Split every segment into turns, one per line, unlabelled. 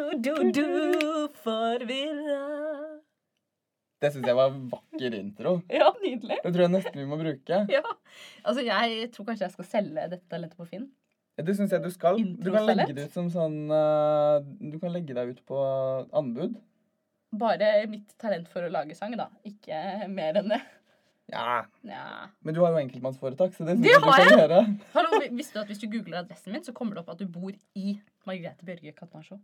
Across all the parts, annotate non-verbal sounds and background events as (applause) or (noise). Du-du-du-du-du-du-du-du forvirra.
Det syns jeg var en vakker intro.
Ja, nydelig.
Det tror jeg nesten vi må bruke.
Ja. Altså, jeg tror kanskje jeg skal selge dette lettet på Finn.
Det syns jeg du skal. Du kan legge det ut som sånn eh, Du kan legge deg ut på anbud.
Bare mitt talent for å lage sang, da. Ikke mer enn det.
Ja,
Nja.
men du har jo enkeltmannsforetak, så det syns
Det
jeg du
har
kan gjøre.
Hallo, vi- visste du at hvis du googler adressen min, så kommer det opp at du bor i Margrethe Bjørge Katmarsjo?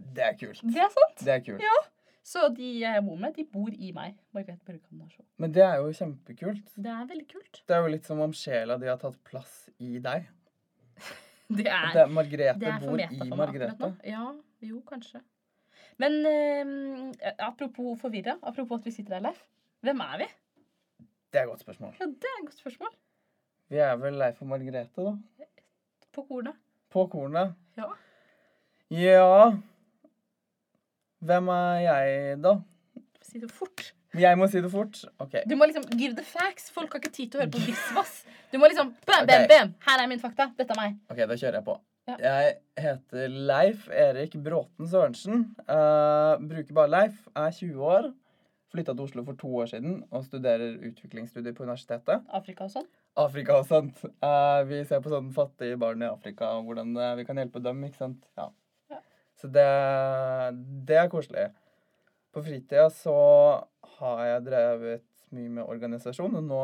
Det er kult.
Det er sant.
Det er kult.
Så de jeg bor med, de bor i meg. Margrethe Bjørge Katmarsjo.
Men det er jo kjempekult.
Det er veldig kult.
Det er jo litt som om sjela di har tatt plass i deg.
Det er
Det, Margrethe
Det er for
bor
meta
i
for meg akkurat nå.
Margrethe.
Ja, jo, kanskje. Men eh, apropos forvirra, apropos at vi sitter her, Leif. Hvem er vi?
Det er et godt spørsmål.
Ja, Det er et godt spørsmål.
Vi er vel Leif og Margrethe, da.
På kornet.
På kornet.
Ja.
Ja Hvem er jeg, da?
Si det fort.
Jeg må si det fort. OK.
Du må liksom give the facts. Folk har ikke tid til å høre på visvas. Du må liksom bam, bam,
Ok.
bam. Her er min fakta. Dette er meg.
Ok, da kjører jeg på.
Ja.
Jeg heter Leif Erik Bråten Sørensen. Eh, bruker bare Leif. Er 20 år. Flytta til Oslo for to år siden og studerer utviklingsstudier på universitetet.
Afrika og sånn.
Afrika og sånt. Eh, vi ser på sånn fattige barn i Afrika og hvordan eh, vi kan hjelpe dem, ikke sant? Ja.
Ja.
Så det, det er koselig. På fritida så har jeg drevet mye med organisasjon, og nå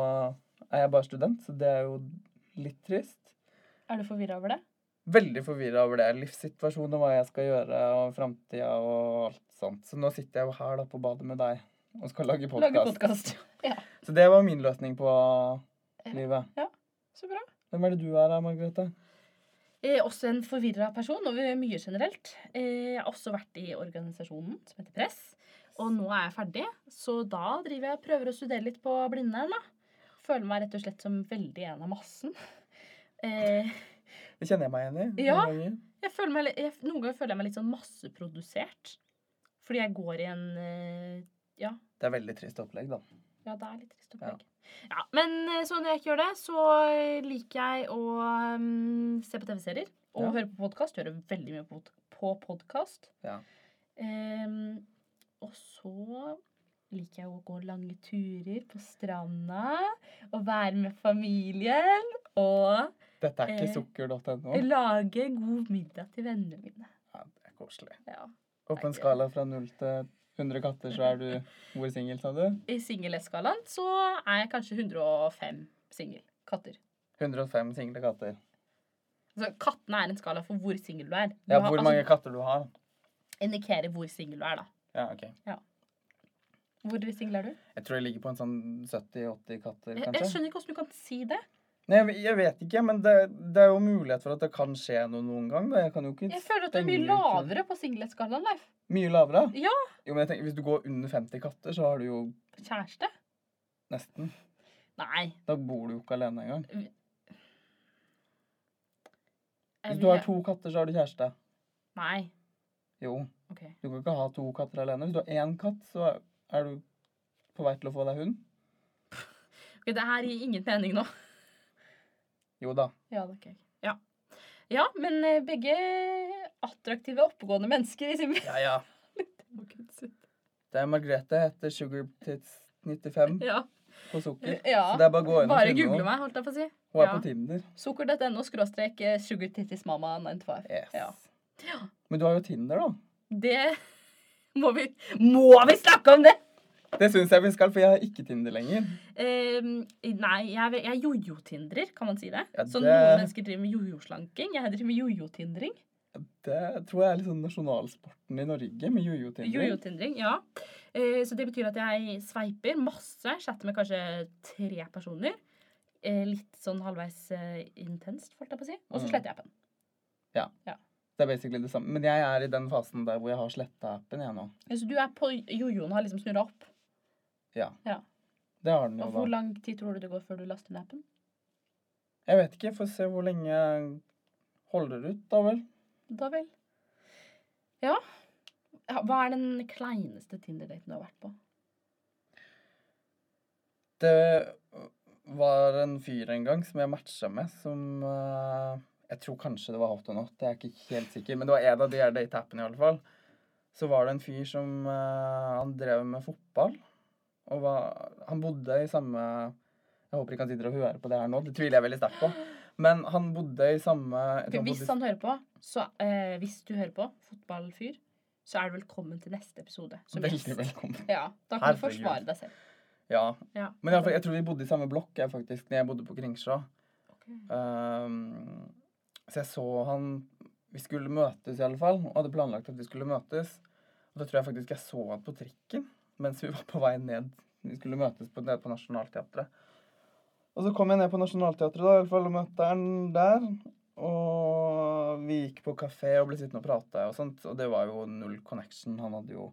er jeg bare student, så det er jo litt trist.
Er du forvirra over det?
Veldig forvirra over det. Livssituasjonen og hva jeg skal gjøre, og framtida og alt sånt. Så nå sitter jeg jo her da på badet med deg og skal lage
Lage
podkast.
podkast. Ja,
Så det var min løsning på
Ja.
livet.
så bra.
Hvem er det du er, da, Margrethe?
Eh, også en forvirra person over mye generelt. Eh, jeg har også vært i organisasjonen som heter Press. Og nå er jeg ferdig, så da driver jeg og prøver å studere litt på Blindern. da. Føler meg rett og slett som veldig en av massen. Eh,
Det kjenner jeg meg igjen i.
Ja.
noen ganger.
jeg føler meg, li- jeg, noen ganger føler jeg meg litt sånn masseprodusert. Fordi jeg går i en eh, Ja,
Det er veldig trist opplegg, da.
Ja, det er litt trist opplegg. Ja. men eh, så når jeg ikke gjør det, så eh, liker jeg å mm, se på TV-serier og
Ja.
høre på podkast. Hører veldig mye på pod- på podkast.
Ja.
Ehm, og så liker jeg å gå lange turer på stranda og være med familien. Og
Dette er
Eh.
ikke sukker.no.
lage god middag til vennene mine.
Ja, det er koselig.
Ja.
Og på en
Nei, det-
skala fra null til 100 katter, så er du Hvor singel, sa du?
I singelskalaen så er jeg kanskje 105 singel. Katter.
105 single katter.
Altså, kattene er en skala for hvor singel du er. Du
Ja,
har-
hvor
altså,
mange katter du har.
indikerer hvor singel du er, da.
Ja, ok.
Hvor singel er du?
Jeg tror jeg ligger på en sånn 70-80 katter,
Jeg, jeg
kanskje.
skjønner ikke hvordan du kan si det.
Nei, jeg, jeg vet ikke, men det, det er jo mulighet for at det kan skje noe noen gang. Da. Jeg kan jo ikke
Jeg føler at du er mye
stenge ut-
lavere på singelhetsskalaen, Leif.
Mye lavere?
Ja.
Jo, men jeg tenker, Hvis du går under 50 katter, så har du jo
Kjæreste?
nesten.
Nei.
Da bor du jo ikke alene engang.
jeg
Hvis du
vil-
har to katter, så har du kjæreste.
Nei.
Jo.
Ok.
Du kan ikke ha to katter alene. Hvis du har én katt, så er du på vei til å få deg hund.
Ok, Det her gir ingen mening nå.
Jo da.
(laughs) Ja, det er ok. Ja. ja, men eh, begge attraktive, oppegående mennesker i sin
(laughs) Ja, ja. Det er Margrethe heter Sugartits95
Ja.
på sukker.
ja.
Så det er bare å gå inn og
Bare
finne
google
henne.
meg, holdt jeg på å si.
Hun er
Ja.
på Tinder.
Sukker.no skråstrek eh, sugartittismama95.
Yes.
Ja.
Men du har jo Tinder, da.
Det må vi Må vi snakke om det?!
Det syns jeg vi skal, for jeg har ikke Tinder lenger.
Ehm, nei, jeg, er- jeg er jojo-tindrer, kan man si det?
Ja,
Så
det-
noen mennesker driver med jojo-slanking. Jeg driver med jojo-tindring.
Det tror jeg er liksom nasjonalsporten i Norge, med jojo-Tinder.
Jojo-tindring, ja. Eh, så det betyr at jeg sveiper masse. Chatter med kanskje tre personer. Eh, litt sånn halvveis eh, intenst, holdt jeg på å si. Og så
Mm.
sletter jeg appen.
Det er basically det samme. Men jeg er i den fasen der hvor jeg har sletta appen, jeg nå.
Eh, Så du er på jojoen og har liksom snurra opp.
Ja.
Ja.
Det har den
Og
jo,
hvor
da.
lang tid tror du det går før du laster ned appen?
Jeg vet ikke. Får se hvor lenge jeg holder ut, da vel.
Da vel. Ja. Ja, Hva er den kleineste Tinder-daten du har vært på?
Det var en fyr en gang som jeg matcha med, som eh, Jeg tror kanskje det var Hot or Not, jeg er ikke helt sikker. Men det var en av de her date-appene, i alle fall. Så var det en fyr som eh, Han drev med fotball. Og var, han bodde i samme Jeg håper ikke han sitter og hører på det her nå, det tviler jeg veldig sterkt på. Men han bodde i samme jeg tror han
Hvis
bodde i-
han hører på, så eh, Hvis du hører på, fotballfyr, så er du velkommen til neste episode. Som
Veldig
gjest.
velkommen.
Ja, da kan du
Herregud.
forsvare deg selv.
Ja.
Ja.
Men i alle fall, jeg tror vi bodde i samme blokk, jeg, faktisk, når jeg bodde på Kringsjå.
Ok.
Ehm, så jeg så han Vi skulle møtes, i alle fall. Og hadde planlagt at vi skulle møtes. Og da tror jeg faktisk jeg så han på trikken mens vi var på vei ned. Vi skulle møtes på, ned på Nationaltheatret. Og så kom jeg ned på Nationaltheatret da, i alle fall, og møtte han der. Og vi gikk på kafé og ble sittende og prate og sånt. Og det var jo null connection. Han hadde jo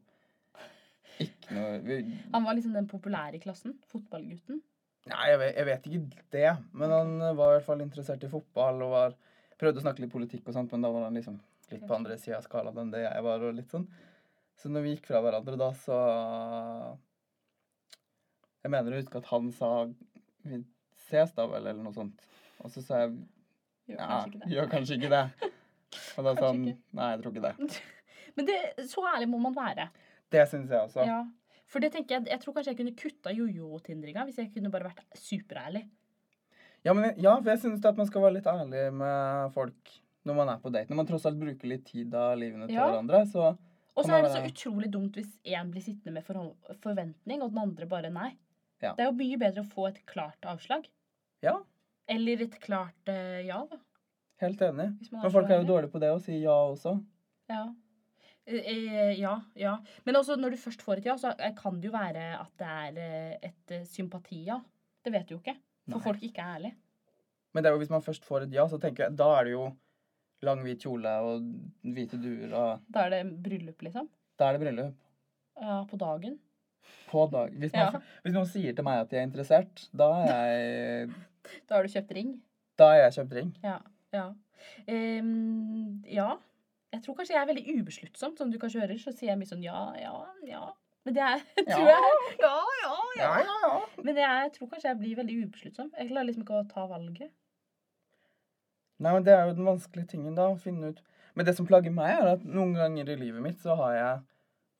ikke noe vi,
Han var liksom den populære i klassen. Fotballgutten.
Nei, jeg vet, jeg vet ikke det. Men han eh, var i hvert fall interessert i fotball og var, prøvde å snakke litt politikk og sånt, men da var han liksom litt på andre sida av skalaen enn det jeg var. og litt sånn. Så når vi gikk fra hverandre da, så Jeg mener å huske at han sa Vi ses da vel, eller noe sånt. Og så sa jeg
Gjør
ja,
kanskje ikke det.
gjør kanskje ikke
(laughs)
det. Og da sa han
Kanskje ikke.
nei, jeg tror ikke det.
Men det, (laughs) så ærlig må man være.
Det syns jeg også.
Ja. For det tenker jeg, jeg tror kanskje jeg kunne kutta jojo-tindringa hvis jeg kunne bare vært superærlig.
Ja, men, jeg- ja for jeg syns at man skal være litt ærlig med folk når man er på date. Når man tross alt bruker litt tid av livene til
Ja.
hverandre, så
Og
Kan
så er det
man eh,
så
være-
utrolig dumt hvis én blir sittende med forhold- forventning, og den andre bare nei.
Ja.
Det er jo mye bedre å få et klart avslag.
Ja.
Eller et klart eh, ja, da.
Helt enig.
Hvis man
Men
så
folk er jo
ærlig.
dårlige på det å si ja også.
Ja. Eh, eh, ja, ja. Men også når du først får et ja, så eh, kan det jo være at det er eh, et eh, sympati, ja. Det vet du jo ikke. For
Nei.
folk ikke er ærlige.
Men det er jo hvis man først får et ja, så tenker jeg da er det jo lang, hvit kjole og hvite duer og
Da er det bryllup, liksom.
Da er det bryllup.
Ja, på dagen.
På dag. Hvis, man,
Ja.
hvis noen sier til meg at de er interessert, da er jeg,
Da har du kjøpt ring.
da er jeg kjøpt ring.
Ja. Ja. Ehm, ja. Jeg tror kanskje jeg er veldig ubesluttsom, som du kanskje hører. Så sier jeg mye sånn ja, ja, ja. Men det er, (laughs) tror jeg, ja, ja, ja.
ja, ja.
Men jeg tror kanskje jeg blir veldig ubesluttsom. Jeg klarer liksom ikke å ta valget.
Nei, men Det er jo den vanskelige tingen, da. å finne ut. Men det som plager meg, er at noen ganger i livet mitt så har jeg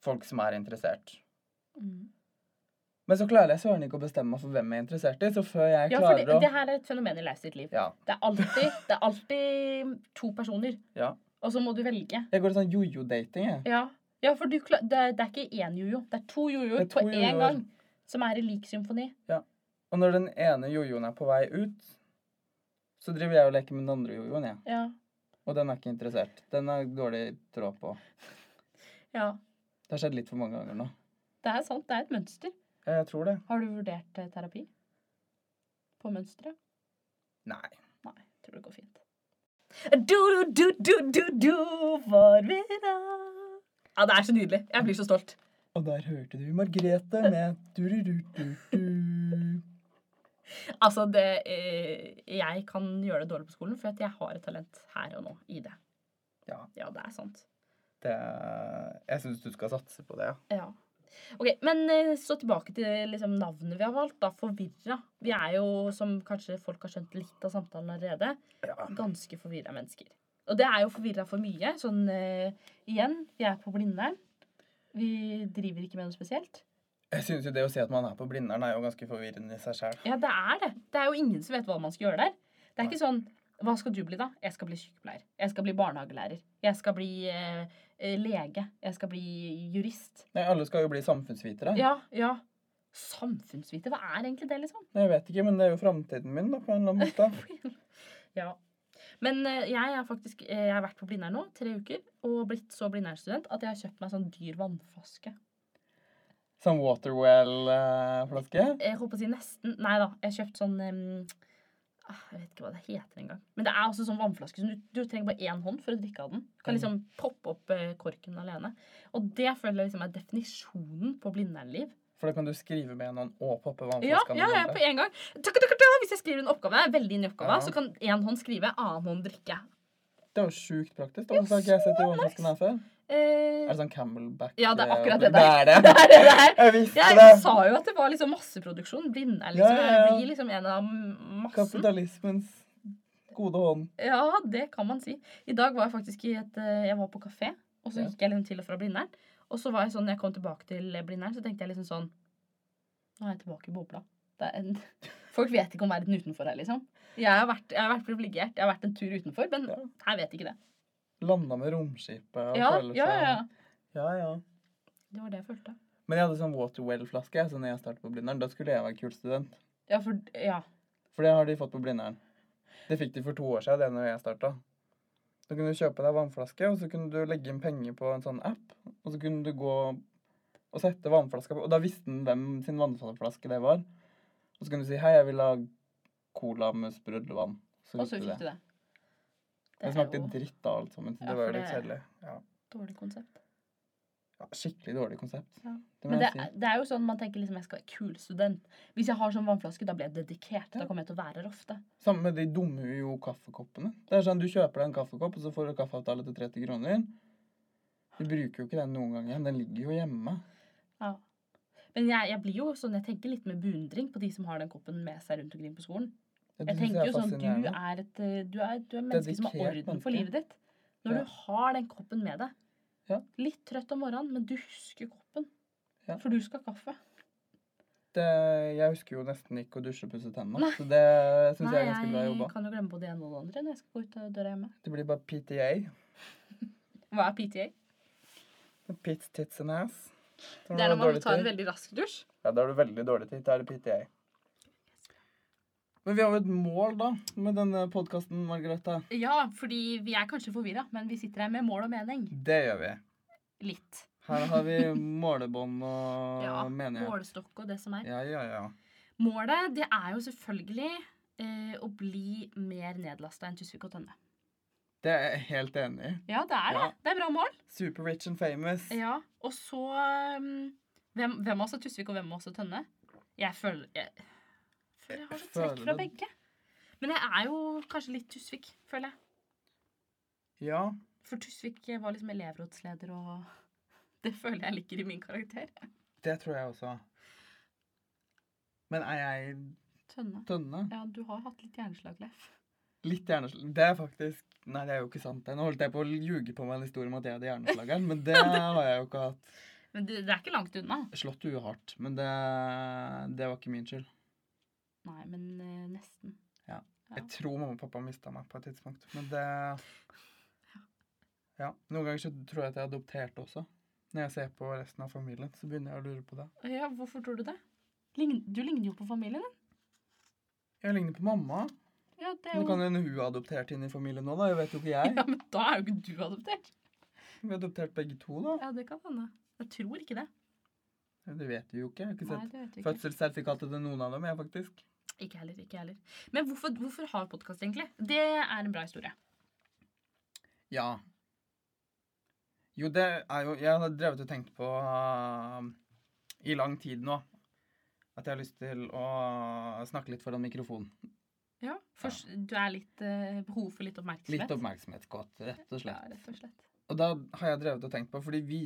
folk som er interessert.
Mm.
Men så klarer jeg søren ikke å bestemme meg for hvem jeg er interessert i. Så før jeg
Ja, for
klarer
det,
å
det her er et fenomen i Leif sitt liv.
Ja.
Det er alltid, det er alltid to personer,
ja.
og så må du velge.
Jeg går i sånn jojo-dating, jeg.
Ja, ja for du, kla- det, er- det er ikke én jojo. Det er to jojoer
Det er to
på én
jojoer.
gang som er i lik symfoni.
Og når den ene jojoen er på vei ut, så driver jeg og leker med den andre jojoen, jeg.
Ja.
Og den er ikke interessert. Den er dårlig tråd på.
ja.
Det har skjedd litt for mange ganger nå.
Det er sant. Det er et mønster.
Ja, jeg tror det.
Har du vurdert eh, terapi? På mønsteret?
Nei.
Nei, jeg tror det går fint. Du-du-du-du-du-du, for vera. Ja, det er så nydelig. Jeg blir så stolt.
Og der hørte du Margrethe med du-du-du-du-du.
Altså, det, eh, jeg kan gjøre det dårlig på skolen, for at jeg har et talent her og nå i det.
Ja.
Ja, det er sant.
Det Jeg syns du skal satse på det.
Ja. Ok, Men eh, så tilbake til liksom, navnet vi har valgt. da, Forvirra. Vi er jo, som kanskje folk har skjønt litt av samtalen allerede,
Ja.
ganske forvirra mennesker. Og det er jo forvirra for mye. Sånn eh, igjen, vi er på Blindern. Vi driver ikke med noe spesielt.
Jeg syns jo det å si at man er på Blindern, er jo ganske forvirrende i seg sjøl.
Ja, det er det. Det er jo ingen som vet hva man skal gjøre der. Det er ikke sånn Hva skal du bli, da? Jeg skal bli sykepleier. Jeg skal bli barnehagelærer. Jeg skal bli eh, eh, lege. Jeg skal bli jurist.
Nei, alle skal jo bli samfunnsvitere.
Ja, ja. Samfunnsvite, hva er egentlig det, liksom?
Jeg vet ikke, men det er jo framtiden min, da, på en eller annen måte.
Ja. Men eh, jeg, er faktisk, eh, jeg har vært på Blindern nå tre uker og blitt så Blindern-student at jeg har kjøpt meg sånn dyr vannflaske.
Sånn Waterwell-flaske.
Jeg holdt på å si nesten Nei da, jeg har kjøpt sånn em, ah, Jeg vet ikke hva det heter engang. Men det er også sånn vannflaske. som du, du trenger bare én hånd for å drikke av den. Du kan
Mm.
liksom poppe opp eh, korken alene. Og det føler jeg liksom er definisjonen på blindernliv.
For da kan du skrive med en hånd og poppe
Ja,
vannflaska
ja, ja, på en gang. Tukka, tukka, tukka, Hvis jeg skriver en oppgave, jeg er veldig inne i oppgava,
Ja.
så kan én hånd skrive, annen hånd drikke.
Det er jo sjukt praktisk. da.
Ja,
Hvorfor har ikke jeg sett de vannflaskene her før?
Eh,
Er det sånn Camelback?
Ja, det er akkurat det
det
der.
er
(laughs)
det.
Det er det der.
Jeg visste
jeg
det!
sa jo at det var liksom masseproduksjon. Blindern,
Ja,
liksom.
ja, ja.
Jeg blir liksom en av massen.
Kapitalismens gode hånd.
Ja, det kan man si. I dag var jeg faktisk i et eh, Jeg var på kafé, og så
Ja.
gikk jeg liksom til og fra Blindern. Og så var jeg sånn, når jeg kom tilbake til Blindern, så tenkte jeg liksom sånn Nå er jeg tilbake i bobla. Det er en, (laughs) folk vet ikke om verden utenfor her, liksom. Jeg har vært, jeg har vært privilegert. Jeg har vært en tur utenfor, men
Ja.
her vet ikke det.
Landa med romskipet og
Ja,
føler
ja, ja.
seg Ja, ja.
Det var det jeg følte.
Men jeg hadde sånn Waterwell-flaske jeg, så når jeg startet på Blindern. Da skulle jeg være kul student.
Ja, for Ja.
For det har de fått på Blindern. Det fikk de for to år siden, det når jeg starta. Da kunne du kjøpe deg vannflaske, og så kunne du legge inn penger på en sånn app. Og så kunne du gå og sette vannflaska på Og da visste den hvem sin vannflaske det var. Og så kunne du si 'Hei, jeg vil ha cola med sprudlevann'. Så
Og så
fikk du det.
fikk du det.
Det
er
smakte
jo
dritt av alt sammen, så
Ja,
det var
for
jo litt
det-
kjedelig. Ja.
Dårlig konsept.
Ja, skikkelig dårlig konsept.
Ja.
Det må
Men det
jeg si.
er, det er jo sånn man tenker liksom jeg skal være kul student. Hvis jeg har sånn vannflaske, da blir jeg dedikert. Da
Ja.
kommer jeg til å være her ofte.
Samme med de dumme UiO-kaffekoppene. Det er sånn, Du kjøper deg en kaffekopp, og så får du kaffeavtale til 30 kroner. Du bruker jo ikke den noen gang igjen. Den ligger jo hjemme.
Ja. Men jeg, jeg blir jo sånn, jeg tenker litt med beundring på de som har den koppen med seg rundt omkring på skolen.
Det
Jeg
synes
tenker
er
jo sånn, Du
fascinerende.
er et eh, du er, du er et menneske som har
Dedikert
orden for
menneske.
livet ditt. Når
Ja.
du har den koppen med deg.
Ja.
Litt trøtt om morgenen, men du husker koppen.
Ja.
For du skal ha kaffe.
det, Jeg husker jo nesten ikke å dusje og pusse tennene.
Nei.
Så det syns jeg er ganske bra
jeg
jobba.
kan jo glemme både det ene og det andre når jeg skal gå ut av døra hjemme.
Det blir bare PTA.
Hva er PTA?
Pits, tits and ass. Så
Det er
du
når man
dårlig
må ta en
tid.
veldig rask dusj.
Ja, da har du veldig dårlig tid. Da er det PTA. Men vi har jo et mål, da, med denne podkasten, Margrethe.
Ja, fordi vi er kanskje forvirra, men vi sitter her med mål og mening.
Det gjør vi.
Litt.
Her har vi målebånd og
(laughs) Ja,
menighet.
Målestokk og det som er.
Ja, ja, ja.
Målet det er jo selvfølgelig eh, å bli mer nedlasta enn Tusvik og Tønne.
Det er jeg helt enig i.
Ja, det er det.
Ja.
Det er bra mål.
Super rich and famous.
Ja, Og så um, Hvem, hvem av oss er Tusvik, og hvem av oss er Tønne? Jeg føler jeg, føler jeg har så trekk
Føler
fra
det.
begge. Men jeg er jo kanskje litt Tusvik, føler jeg.
Ja.
For Tusvik var liksom elevrådsleder, og (laughs) det føler jeg ligger i min karakter.
Det tror jeg også. Men er jeg
Tønne.
tønne?
Ja, du har hatt litt hjerneslag, Leif.
Litt hjerneslag Det er faktisk Nei, det er jo ikke sant. det. Nå holdt jeg på å ljuge på meg en historie om at jeg hadde hjerneslag her,
(laughs)
men det har jeg jo ikke hatt.
Men det, det er ikke langt unna.
Slått huet hardt, men det, det var ikke min skyld.
Nei, men eh, nesten.
Jeg tror mamma og pappa mista meg på et tidspunkt, men det Ja. Noen ganger så tror jeg at jeg er adoptert også. Når jeg ser på resten av familien, så begynner jeg å lure på det.
Ja, hvorfor tror du det? Lign- Du ligner jo på familien din.
Jeg ligner på mamma.
Ja, det er
Nå
jo...
kan hende hun er adoptert inn i familien nå, da. Jeg vet jo ikke jeg.
(laughs) ja, men da er jo ikke du adoptert.
Vi er adoptert begge to, da.
Ja, det kan hende. Jeg tror ikke det.
Det vet vi jo ikke. Jeg har ikke
Nei,
sett
det vet vi ikke.
fødselssertifikatet til noen av dem, jeg, faktisk.
Ikke heller, ikke heller. Men hvorfor, hvorfor har podkast, egentlig? Det er en bra historie.
Ja. Jo, det er jo Jeg har drevet og tenkt på eh, i lang tid nå at jeg har lyst til å snakke litt foran mikrofonen.
Ja. For s- du er litt eh, behov for litt oppmerksomhet.
Litt oppmerksomhet, godt, rett og
Ja,
slett.
rett og slett.
Og da har jeg drevet og tenkt på, fordi vi,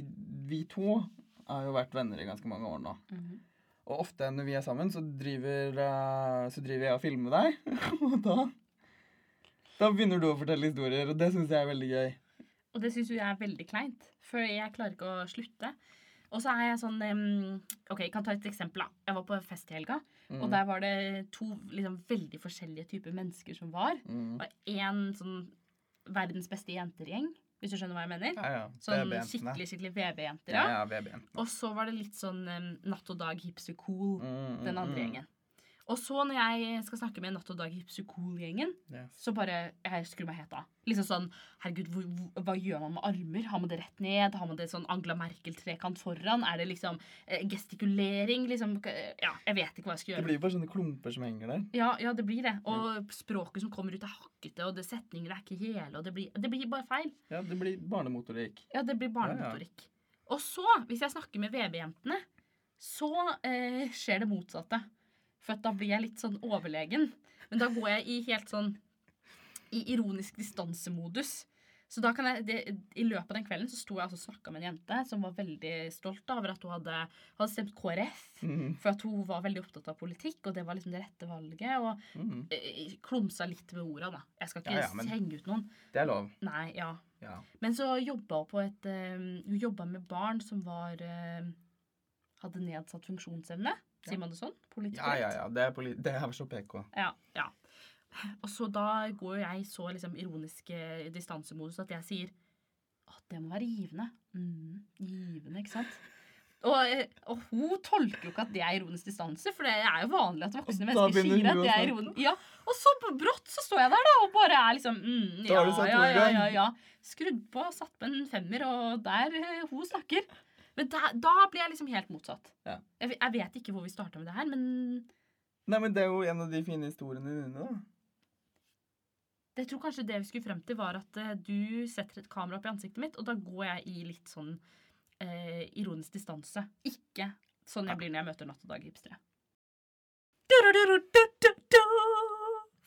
vi to har jo vært venner i ganske mange år nå.
Mhm.
Og ofte når vi er sammen, så driver, eh, så driver jeg og filmer deg. (laughs) og da, da begynner du å fortelle historier, og det syns jeg er veldig gøy.
Og det syns jo jeg er veldig kleint, for jeg klarer ikke å slutte. Og så er jeg sånn em, OK, jeg kan ta et eksempel. da. Jeg var på en fest i helga,
Mm,
og der var det to liksom, veldig forskjellige typer mennesker som var.
mm.
Og én sånn verdens beste jentergjeng, hvis du skjønner hva jeg mener.
Ja, ja.
Sånn
BB-jentene.
skikkelig skikkelig VB-jenter.
Ja,
Ja.
ja, BB-jentene.
Og så var det litt sånn em, Natt og Dag Hipster Cool,
Mm, mm,
den andre
mm.
gjengen. Og så når jeg skal snakke med Natt og Dag Hipster Cool-gjengen,
Mm, Yes.
så bare jeg skrur meg helt av. Liksom sånn Herregud, hvor, hvor, hva gjør man med armer? Har man det rett ned? Har man det sånn Angela Merkel-trekant foran? Er det liksom eh, gestikulering? Liksom eh, Ja, jeg vet ikke hva jeg skal
Det
gjøre.
blir jo bare sånne klumper som henger der.
Ja, ja, det blir det. Og språket som kommer ut, er hakkete, og det setninger er ikke hele. og Det blir, det blir bare feil.
Ja, Det blir barnemotorikk.
Ja, det blir barnemotorikk. Og så, hvis jeg snakker med VB-jentene, så eh, skjer det motsatte. For at da blir jeg litt sånn overlegen. Men da går jeg i helt sånn i ironisk distansemodus. Så da kan jeg, det, I løpet av den kvelden så sto jeg altså og snakka med en jente som var veldig stolt over at hun hadde, hadde stemt KrF.
Mhm,
For at hun var veldig opptatt av politikk, og det var liksom det rette valget. Og
mhm.
eh, klumsa litt med orda, da. Jeg skal ikke
Ja, ja, men-
henge ut noen.
Det er lov.
Nei, ja.
Ja.
Men så jobba hun på et eh, Hun jobba med barn som var eh, Hadde nedsatt funksjonsevne. Sier
Ja.
man det sånn? Politisk
ja, ja, ja. Det er, poli det er så PK.
ja, ja. Og så da går jo jeg så liksom ironisk eh, distansemodus at jeg sier at det må være givende. Mm, givende, ikke sant? Og, eh, og hun tolker jo ikke at det er ironisk distanse, for det er jo vanlig at voksne
Og da
mennesker
begynner
sier
hun
at
å
det er
snakke.
ironisk. Ja, og så b- brått så står jeg der da og bare er liksom mm,
Da
ja,
har du satt
ja, ja,
ordet.
ja, ja. Skrudd på, satt på en femmer, og der eh, hun snakker. Men da, da blir jeg liksom helt motsatt.
Ja.
Jeg, jeg vet ikke hvor vi starta med det her, men
Nei, men det er jo en av de fine historiene dine, da.
Jeg tror kanskje det vi skulle frem til, var at eh, du setter et kamera opp i ansiktet mitt, og da går jeg i litt sånn eh, ironisk distanse. Ikke sånn
Ja.
jeg blir når jeg møter Natt og dag hipstere. Du-du-du-du-du-du-du,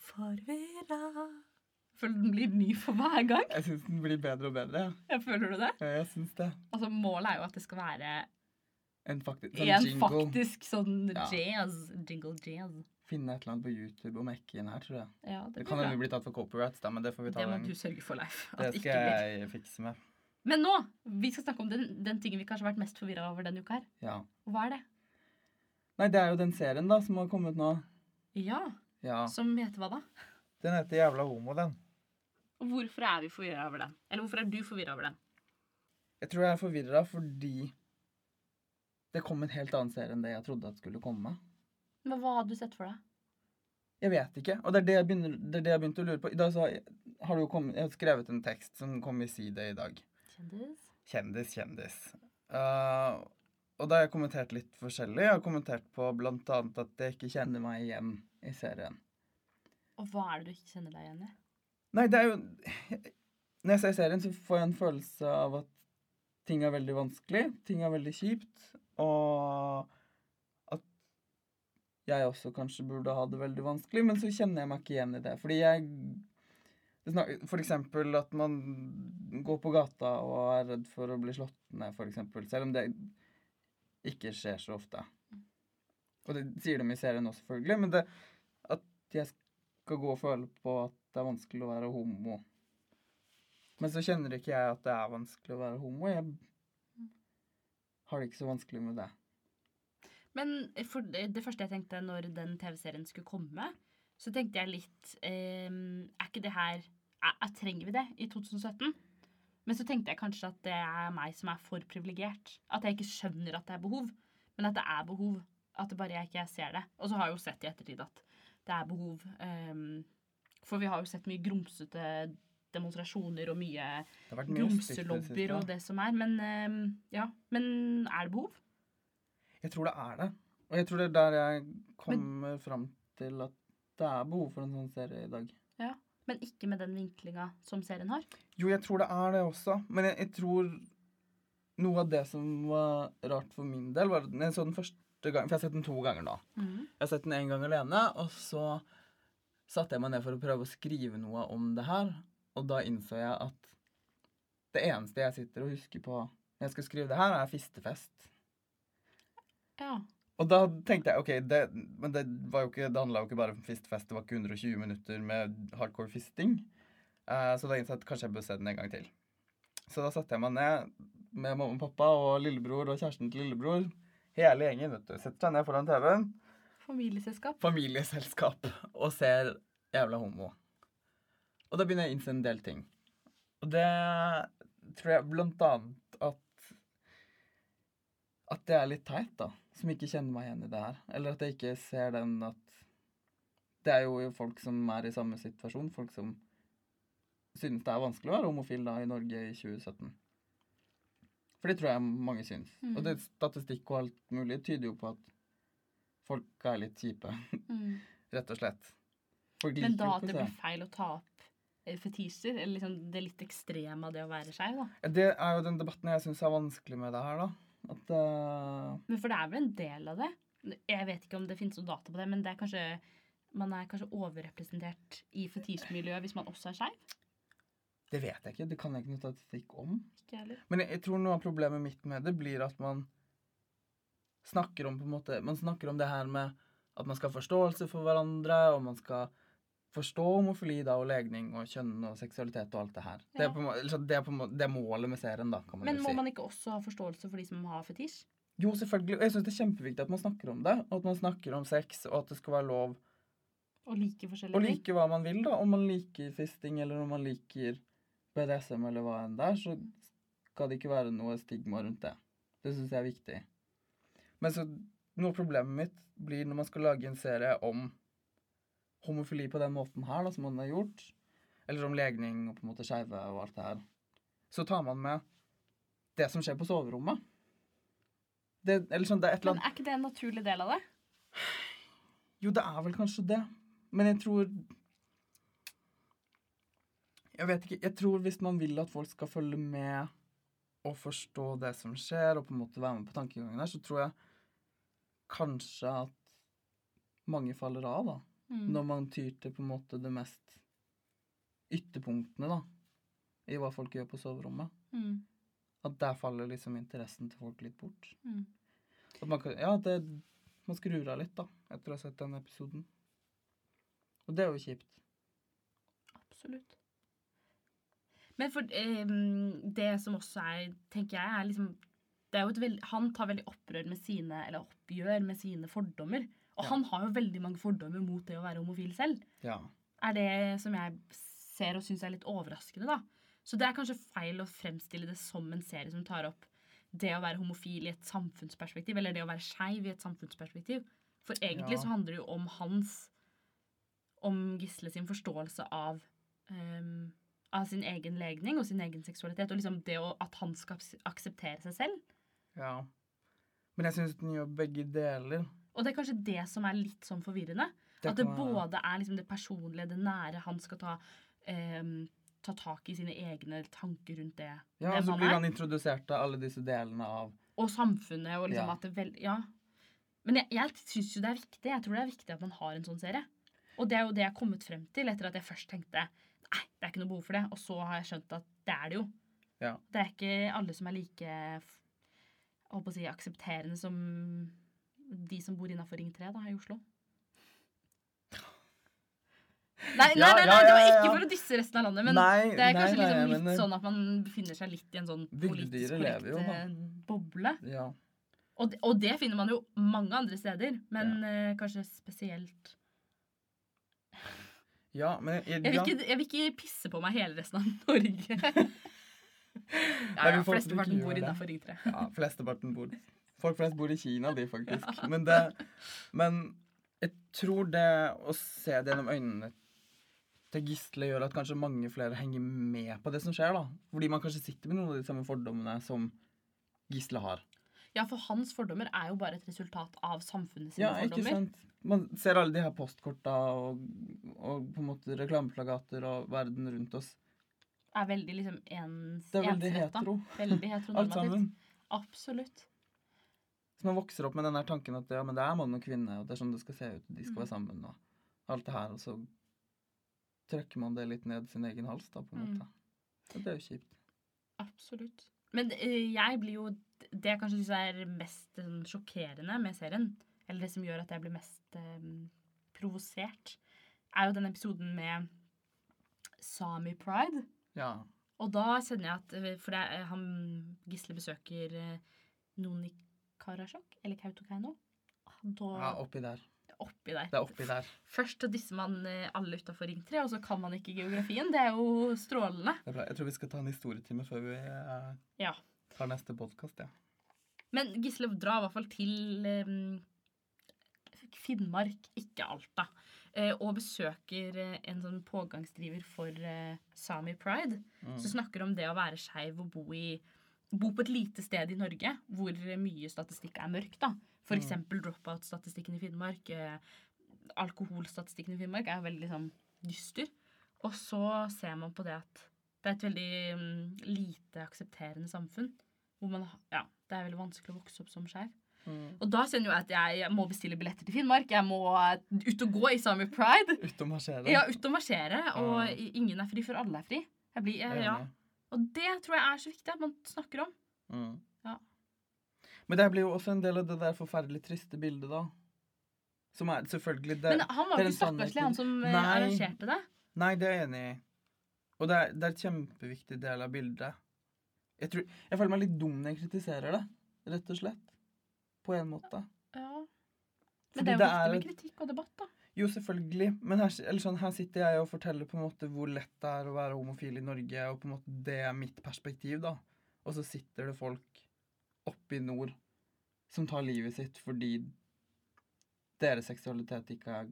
Farvela Føler den blir ny for hver gang.
Jeg syns den blir bedre og bedre. ja.
Jeg føler du det?
Ja, jeg syns det.
Altså, Målet er jo at det skal være
En faktisk sånn
en
jingle.
faktisk sånn
Ja.
jazz. Jingle jazz.
Finne et eller annet på YouTube og mekke inn her, tror jeg.
Ja,
Det
det
kan
blir bra.
hende vi blir tatt for copyrights, da, men det får vi ta
Det må
en
du sørge for, Leif.
Det
At det ikke blir.
skal jeg fikse med.
Men nå, vi skal snakke om den, den tingen vi kanskje har vært mest forvirra over denne uka her.
Ja.
Hva er det?
Nei, det er jo den serien da som har kommet nå.
Ja,
Ja.
som heter hva da?
Den heter Jævla homo, den.
Og hvorfor er vi forvirra over den? Eller hvorfor er du forvirra over den?
Jeg tror jeg er forvirra fordi det kom en helt annen serie enn det jeg trodde at skulle komme.
Men hva hadde du sett for deg?
Jeg vet ikke. Og det er det jeg, begynner, det er det jeg begynte å lure på. I dag så har jeg, har det jo kommet, jeg har skrevet en tekst som kom i side i dag.
Kjendis?
Kjendis, kjendis. Eh, og da har jeg kommentert litt forskjellig. Jeg har kommentert på blant annet at jeg ikke kjenner meg igjen i serien.
Og hva er det du ikke kjenner deg igjen i?
Nei, det er jo Når jeg ser serien, så får jeg en følelse av at ting er veldig vanskelig, ting er veldig kjipt, og at jeg også kanskje burde ha det veldig vanskelig, men så kjenner jeg meg ikke igjen i det. Fordi jeg det snak- For eksempel at man går på gata og er redd for å bli slått ned, for eksempel. Selv om det ikke skjer så ofte. Og det sier de i serien også, selvfølgelig, men det at jeg skal gå og føle på at det er vanskelig å være homo. Men så kjenner ikke jeg at det er vanskelig å være homo. Jeg har det ikke så vanskelig med det.
Men for det det første jeg tenkte når den TV-serien skulle komme, så tenkte jeg litt ehm, Er ikke det her er, er, Trenger vi det i 2017? Men så tenkte jeg kanskje at det er meg som er for privilegert. At jeg ikke skjønner at det er behov, men at det er behov. At det bare jeg ikke ser det. Og så har jeg jo sett i ettertid at det er behov. ehm, for vi har jo sett mye grumsete demonstrasjoner og mye
Det har vært mye styrt i det siste,
grumselobbyer og
da.
det som er. Men ehm, ja. Men er det behov?
Jeg tror det er det. Og jeg tror det er der jeg kommer fram til at det er behov for en sånn serie i dag.
Men ikke med den vinklinga som serien har.
Jo, jeg tror det er det også. Men jeg, jeg tror noe av det som var rart for min del, var at når jeg så den første gangen For jeg har sett den to ganger nå.
Mm.
Jeg har sett den en gang alene, og så satte jeg meg ned for å prøve å skrive noe om det her. Og da innså jeg at det eneste jeg sitter og husker på når jeg skal skrive det her, er fistefest.
Ja.
Og da tenkte jeg ok, det, men det, var jo ikke, det handla jo ikke bare om fistefest, det var ikke 120 minutter med hardcore fisting. Eh, så da innså jeg at kanskje jeg bør se den en gang til. Så da satte jeg meg ned med mamma og pappa og lillebror og kjæresten til lillebror. Hele gjengen, vet du. Setter seg ned foran TV-en
Familieselskap.
familieselskap og ser jævla homo. Og da begynner jeg å innse en del ting. Og det tror jeg blant annet at At det er litt teit, da. Som ikke kjenner meg igjen i det her. Eller at jeg ikke ser den at Det er jo folk som er i samme situasjon. Folk som synes det er vanskelig å være homofil da i Norge i 2017. For det tror jeg mange syns.
Mm.
Og det statistikk og alt mulig tyder jo på at folk er litt kjipe,
Mm.
rett og slett. Folk
Men
liker
da
jo
at
ikke
det
å se.
blir feil å ta opp eh, fetisjer, eller liksom det litt ekstreme av det å være skeiv, da.
Ja, Det er jo den debatten jeg syns er vanskelig med det her, da. At eh,
Men for det er vel en del av det? Jeg vet ikke om det finnes noen data på det, men det er kanskje man er kanskje overrepresentert i fetisjmiljøet hvis man også er skeiv?
Det vet jeg ikke. Det kan jeg ikke noe statistikk om.
Ikke jeg heller.
Men jeg, jeg tror noe av problemet mitt med det blir at man snakker om på en måte, man snakker om det her med at man skal ha forståelse for hverandre, og man skal forstå homofili da, og legning og kjønn og seksualitet og alt det her. Det,
Ja.
er på, en må- liksom, det, er på, en må- det er målet med serien, da, kan man
Men
jo
må
si.
man ikke også ha forståelse for de som har fetisj?
Jo, selvfølgelig. Og jeg syns det er kjempeviktig at man snakker om det, og at man snakker om sex, og at det skal være lov
Og like
å
forskjellige ting?
like hva man vil, da. Om man liker fisting, eller om man liker BDSM, eller hva enn det er, så skal det ikke være noe stigma rundt det. Det syns jeg er viktig. Men så noe av problemet mitt blir når man skal lage en serie om homofili på den måten her, da, som man har gjort, eller om legning og på en måte skeive og alt det her, så tar man med det som skjer på soverommet. Det, eller sånn, det er et eller annet
Men er ikke det en naturlig del av det?
jo, det er vel kanskje det. Men jeg tror Jeg vet ikke. Jeg tror hvis man vil at folk skal følge med og forstå det som skjer, og på en måte være med på tankegangen der, så tror jeg kanskje at mange faller av, da.
Mm.
Når man tyr til på en måte det mest ytterpunktene, da, i hva folk gjør på soverommet.
Mm.
At der faller liksom interessen til folk litt bort.
Mm.
At man kan, ja, det, man skrur av litt, da, etter å ha sett den episoden. Og det er jo kjipt.
Absolutt. Men for ehm, det som også er, tenker jeg, er liksom det er jo et veld, Han tar veldig opprør med sine, eller oppgjør med sine fordommer. Og
Ja.
han har jo veldig mange fordommer mot det å være homofil selv.
Ja.
Er det som jeg ser og syns er litt overraskende, da. Så det er kanskje feil å fremstille det som en serie som tar opp det å være homofil i et samfunnsperspektiv, eller det å være skeiv i et samfunnsperspektiv. For egentlig
Ja.
så handler det jo om hans om Gisle sin forståelse av ehm, av sin egen legning og sin egen seksualitet. Og liksom det å, at han skal akse- akseptere seg selv.
ja. Men jeg syns den gjør begge deler.
Og det er kanskje det som er litt sånn forvirrende. at det
kan være-
både er liksom det personlige, det nære. Han skal ta, ehm, ta tak i sine egne tanker rundt det.
ja,
hvem
og så
han
blir
er.
han introdusert av alle disse delene av
Og samfunnet og liksom
Ja.
at det vel, Ja. Men jeg, jeg syns jo det er viktig. Jeg tror det er viktig at man har en sånn serie. Og det er jo det jeg har kommet frem til etter at jeg først tenkte nei, det er ikke noe behov for det. Og så har jeg skjønt at det er det jo.
Ja.
Det er ikke alle som er like f- jeg holdt på å si, aksepterende som de som bor innafor Ring 3 da, her i Oslo. Nei, nei,
Ja,
nei,
ja,
nei, det var
ja, ja,
ikke
ja.
for å dysse resten av landet, men
Nei,
det er
nei,
kanskje
nei,
liksom
jeg
litt
mener-
sånn at man befinner seg litt i en sånn politisk
Bygdedyret lever
korrekt
jo, da.
eh, boble.
Ja.
Og det, og det finner man jo mange andre steder, men eh, kanskje spesielt
ja, men jeg,
jeg vil,
ja.
ikke, jeg vil ikke pisse på meg hele resten av (laughs)
(laughs)
Norge. ja,
vi
ja,
får håpe du
Flesteparten
ikke
bor
gjør det.
innafor Ring 3.
ja, (laughs) flesteparten bor Folk flest bor i Kina, de, faktisk. Men, det, men jeg tror det å se det gjennom øynene til Gisle gjør at kanskje mange flere henger med på det som skjer, da. Fordi man kanskje sitter med noen av de samme fordommene som Gisle har.
Ja, for hans fordommer er jo bare et resultat av samfunnet sine
Ja, ikke
fordommer.
sant? Man ser alle de her postkorta og, og på en måte reklameplagater og verden rundt oss.
Er veldig liksom ens,
Det er veldig
ensrettet.
hetero.
Veldig
(laughs) Alt sammen.
heteronormativt. Absolutt.
Så man vokser opp med den der tanken at ja, men det er mann og kvinne, og det er sånn det skal se ut, de skal
Mm.
være sammen, og alt det her, og så trykker man det litt ned sin egen hals, da, på en
Mm.
måte. Og det er jo kjipt.
Absolutt. Men eh, jeg blir jo Det jeg kanskje syns er mest eh, sjokkerende med serien, eller det som gjør at jeg blir mest eh, provosert, er jo den episoden med Sami Pride.
Ja.
Og da kjenner jeg at eh, For det er, han Gisle besøker eh, noen i Karasjok, eller Kautokeino. Da,
ja, oppi der.
oppi der.
Det er oppi der.
Først så disser man eh, alle utafor Ring 3, og så kan man ikke geografien. Det er jo strålende.
Det er bra. Jeg tror vi skal ta en historietime før vi eh,
Ja.
tar neste podkast, ja.
Men Gisle drar i hvert fall til eh, Finnmark, ikke Alta, eh, og besøker eh, en sånn pågangsdriver for eh, Sami Pride.
Mm.
Som snakker om det å være skeiv og bo, i, bo på et lite sted i Norge hvor mye statistikk er mørk. da. For
Mm.
eksempel dropout-statistikken i Finnmark. Eh, alkoholstatistikken i Finnmark er veldig sånn dyster. Og så ser man på det at det er et veldig mm, lite aksepterende samfunn. Hvor man, ha- ja, det er veldig vanskelig å vokse opp som skeiv.
Mm.
Og da kjenner jo jeg at jeg, jeg må bestille billetter til Finnmark. Jeg må eh, ut og gå i Sami Pride.
Ut og marsjere.
Ja, ut og marsjere. Og
Mm.
i- ingen er fri før alle er fri. Jeg blir,
Jeg er
eh, ja.
enig.
Og det tror jeg er så viktig at man snakker om.
Mm.
Ja.
Men det her blir jo også en del av det der forferdelig triste bildet, da. Som er selvfølgelig det
Men han var
det
jo
er
ikke
en sannhet
stakkarslig,
i-
han som eh,
Nei.
arrangerte det.
Nei, det er jeg enig i. Og det er, det er et kjempeviktig del av bildet. Jeg, tror, jeg føler meg litt dum når jeg kritiserer det, rett og slett. På en måte.
Ja. Men
Fordi
det er jo viktig med
det er et-
kritikk og debatt, da.
Jo, selvfølgelig. Men her, eller sånn, her sitter jeg og forteller på en måte hvor lett det er å være homofil i Norge, og på en måte det er mitt perspektiv, da. Og så sitter det folk oppe i nord som tar livet sitt fordi deres seksualitet ikke er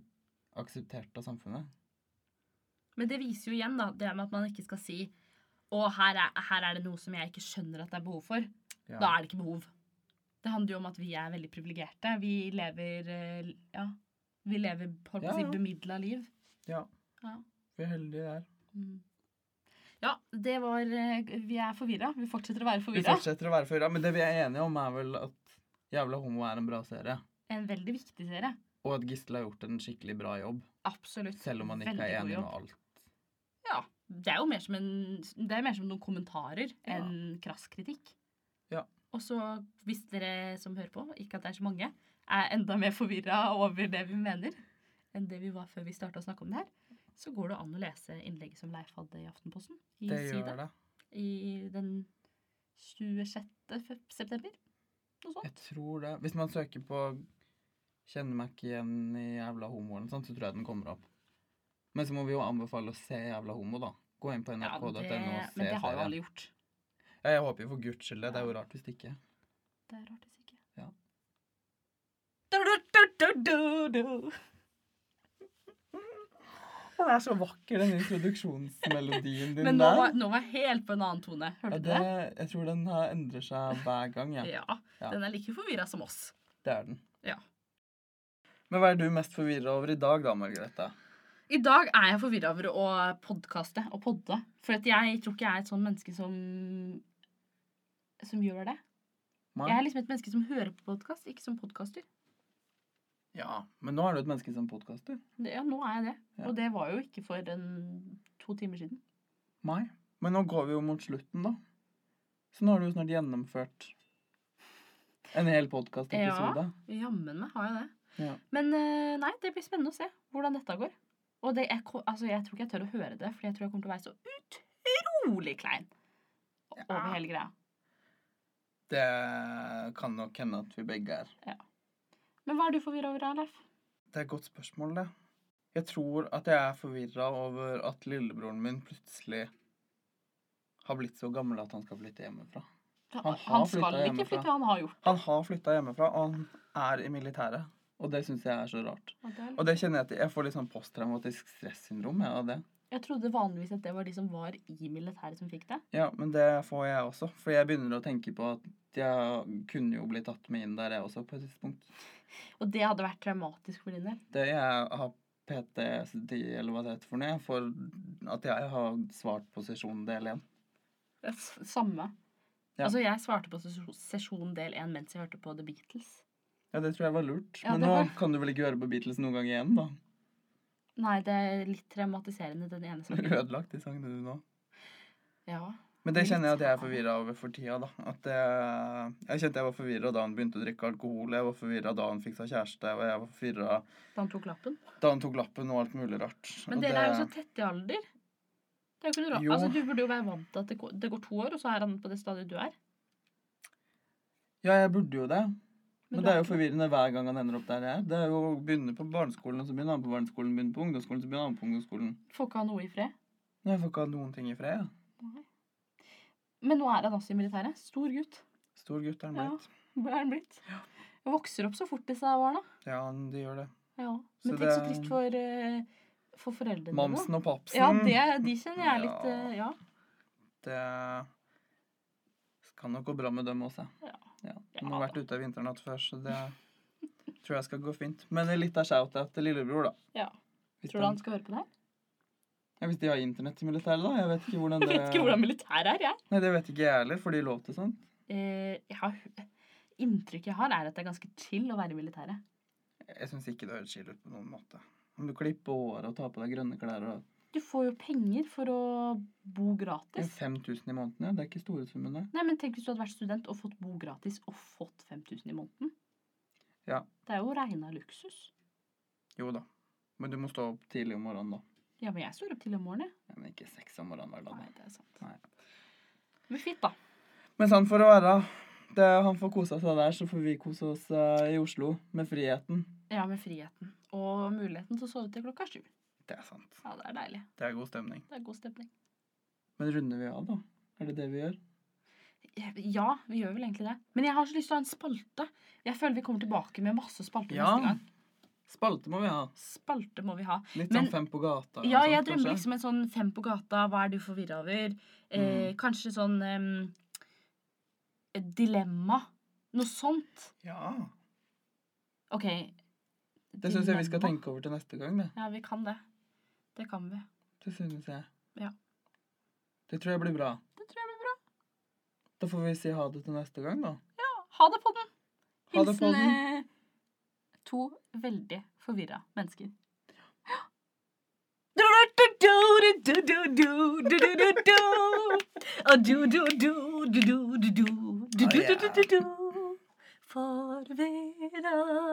akseptert av samfunnet.
Men det viser jo igjen da, det med at man ikke skal si å, her er, her er det noe som jeg ikke skjønner at det er behov for.
Ja.
Da er det ikke behov. Det handler jo om at vi er veldig privilegerte. Vi lever eh, ja, vi lever holdt på å
Ja,
si,
ja.
bemidla liv.
Ja.
Ja.
Vi er heldige der.
Mm. ja, det var eh, Vi er forvirra. Vi fortsetter å være
Vi
forvirra.
fortsetter å være forvirra, men det vi er enige om, er vel at Jævla homo er en bra serie.
En veldig viktig serie.
Og at Gisle har gjort en skikkelig bra jobb,
Absolutt.
selv om han ikke
Veldig
er
god
enig
jobb.
med alt.
Ja. Det er jo mer som, en, det er mer som noen kommentarer
Ja.
enn krass kritikk.
Ja.
Og så, hvis dere som hører på, ikke at det er så mange, er enda mer forvirra over det vi mener enn det vi var før vi starta å snakke om det her, så går det an å lese innlegget som Leif hadde i Aftenposten. I
Det
side,
gjør det.
I den 26. fe- september. Noe sånt.
Jeg tror det. Hvis man søker på 'Kjenner meg ikke igjen i jævla homo', eller noe sånt, så tror jeg den kommer opp. Men så må vi jo anbefale å se 'Jævla homo', da. Gå inn på
Ja,
nrk.no og
det,
se
men det har jo
serien.
alle gjort.
Ja, Jeg håper jo for guds skyld det. Det er jo rart hvis det ikke.
Det er rart hvis ikke.
Ja.
Du, du, du, du, du, du.
Den er så vakker, den
(laughs)
introduksjonsmelodien din
Men nå
der.
var, nå var jeg helt på en annen tone.
Ja,
Hørte du
det, jeg tror den her endrer seg hver gang,
det?
jeg.
Ja.
Ja.
Den er like forvirra som oss.
Det er den.
Ja.
Men hva er du mest forvirra over i dag, da, Margrethe?
I dag er jeg forvirra over å podkaste og podde. For at jeg tror ikke jeg er et sånn menneske som som gjør det.
Mai?
Jeg er liksom et menneske som hører på podkast, ikke som podkaster.
Ja, men nå er du et menneske som podkaster.
Ja, nå er jeg det.
Ja.
Og det var jo ikke for en, to timer siden.
Mai. Men nå går vi jo mot slutten, da. Så nå har du jo snart gjennomført en hel podkastepisode.
Jammen meg har jeg det.
Ja.
Men eh, nei, det blir spennende å se hvordan dette går. Og det, jeg, ko- altså, jeg tror ikke jeg tør å høre det, for jeg tror jeg kommer til å være så utrolig klein over
Ja.
hele greia.
Det kan nok hende at vi begge er.
Men hva er du forvirra over, Leif?
Det er et godt spørsmål, det. Jeg tror at jeg er forvirra over at lillebroren min plutselig har blitt så gammel at han skal flytte hjemmefra.
Han,
har
skal
flyttet
ikke
hjemmefra.
flytte, han har gjort
Han har flytta hjemmefra, og han er i militæret. Og det syns jeg er så rart. Og
det.
det kjenner jeg til. Jeg får litt sånn posttraumatisk stressyndrom jeg, av det.
Jeg trodde vanligvis at det var de som var i militæret, som fikk det.
Ja, men det får jeg også. For jeg begynner å tenke på at jeg kunne jo bli tatt med inn der, jeg også, på et tidspunkt.
Og det hadde vært traumatisk for din del.
Det jeg har PTSD, eller hva det heter for noe, for at jeg har svart på sesjon del én.
S- Samme.
Ja.
Altså, jeg svarte på ses- sesjon del én mens jeg hørte på The Beatles.
Ja, det tror jeg var lurt.
Ja,
men
det
nå
var-
kan du vel ikke høre på Beatles noen gang igjen, da?
Nei, det er litt traumatiserende, den ene
Du har
sangen.
ødelagt de sangene du nå.
Ja.
Men det
Litt sånn.
kjenner jeg at jeg er
her.
forvirra over for tida, da. At jeg, jeg kjente jeg var forvirra da han begynte å drikke alkohol, jeg var forvirra da han fikk seg kjæreste, og jeg var forvirra
Da han tok lappen.
da han tok lappen og alt mulig rart.
Men
Og
dere er jo så
det-
tette i alder. Det er jo ikke noe rart.
Jo.
Altså, du burde jo være vant til at det går, det går to år, og så er han på det stadiet du er.
Ja, jeg burde jo det. Men,
du
det er
ikke
jo
det.
forvirrende hver gang han ender opp der jeg er. Det er jo å begynne på barneskolen, og så begynner han på barneskolen, begynner på ungdomsskolen, så begynner han på ungdomsskolen.
Får ikke ha noe i fred.
Nei, Jeg får ikke ha noen ting i fred, jeg.
Men nå er han også i militæret. Stor gutt.
Stor gutt er han
Ja.
blitt.
Hva er han blitt? Vokser opp så fort disse barna.
Ja, han, de gjør det.
Ja.
Så
Men
det
tenk så
er-
trist for, eh, for foreldrene
Mamsen og papsen.
Ja, det, de kjenner jeg litt
Ja.
eh, Ja.
Det kan nok gå bra med dem også.
Ja.
Ja. De
Ja
har vært
da.
ute av vinternatt før, så det tror jeg skal gå fint. Men litt av shout-out til lillebror, da.
ja.
Hvis,
Tror du han
han-
skal høre på det her?
ja, hvis de har internett i militæret, da. Jeg vet ikke
(laughs)
hvordan
Jeg
det
vet ikke hvordan militæret er, jeg.
Nei, det vet ikke jeg heller. Får de lov til sånt?
Eh, jeg har, inntrykket jeg har, er at det er ganske chill å være i militæret.
Jeg syns ikke det høres chill ut på noen måte. Om du klipper håret og tar på deg grønne klær og
Du får jo penger for å bo gratis.
5000 i måneden, ja. Det er ikke store summene.
Nei, men tenk hvis du hadde vært student og fått bo gratis og fått 5000 i måneden.
Ja.
Det er jo regna luksus.
Jo da. Men du må stå opp tidlig om morgenen, da.
Ja, men jeg står opp til om morgenen. jeg.
Ja, Men ikke seks om morgenen hver dag.
Nei,
da.
det er sant.
Nei.
Men fint, da.
Men sånn får det være. Det, han får kose seg der, så får vi kose oss eh, i Oslo med friheten.
Ja, med friheten. Og muligheten til å sove til klokka sju.
Det er sant.
Ja, det er deilig.
Det er god stemning.
Det er god stemning.
Men runder vi av, da? Er det det vi gjør?
Ja, vi gjør vel egentlig det. Men jeg har så lyst til å ha en spalte. Jeg føler vi kommer tilbake med masse spalter
Ja.
neste gang.
Spalte må vi ha.
Spalte må vi ha.
Litt
Men-
sånn Fem på gata. eller
Ja,
noe
jeg
sånt,
drømmer
kanskje.
liksom en sånn fem på gata, hva er du forvirra over? Eh,
Mm.
Kanskje sånn em, et dilemma. Noe sånt.
Ja.
OK.
Det syns jeg vi skal
dilemma.
tenke over til neste gang. Det,
Ja, vi kan det. Det kan vi.
det synes jeg.
Ja.
Det tror jeg blir bra.
Det tror jeg blir bra.
Da får vi si ha det til neste gang, da.
Ha det på den.
Ha det på
Hilsen
den.
eh, to veldig forvirra mennesker. Forvirra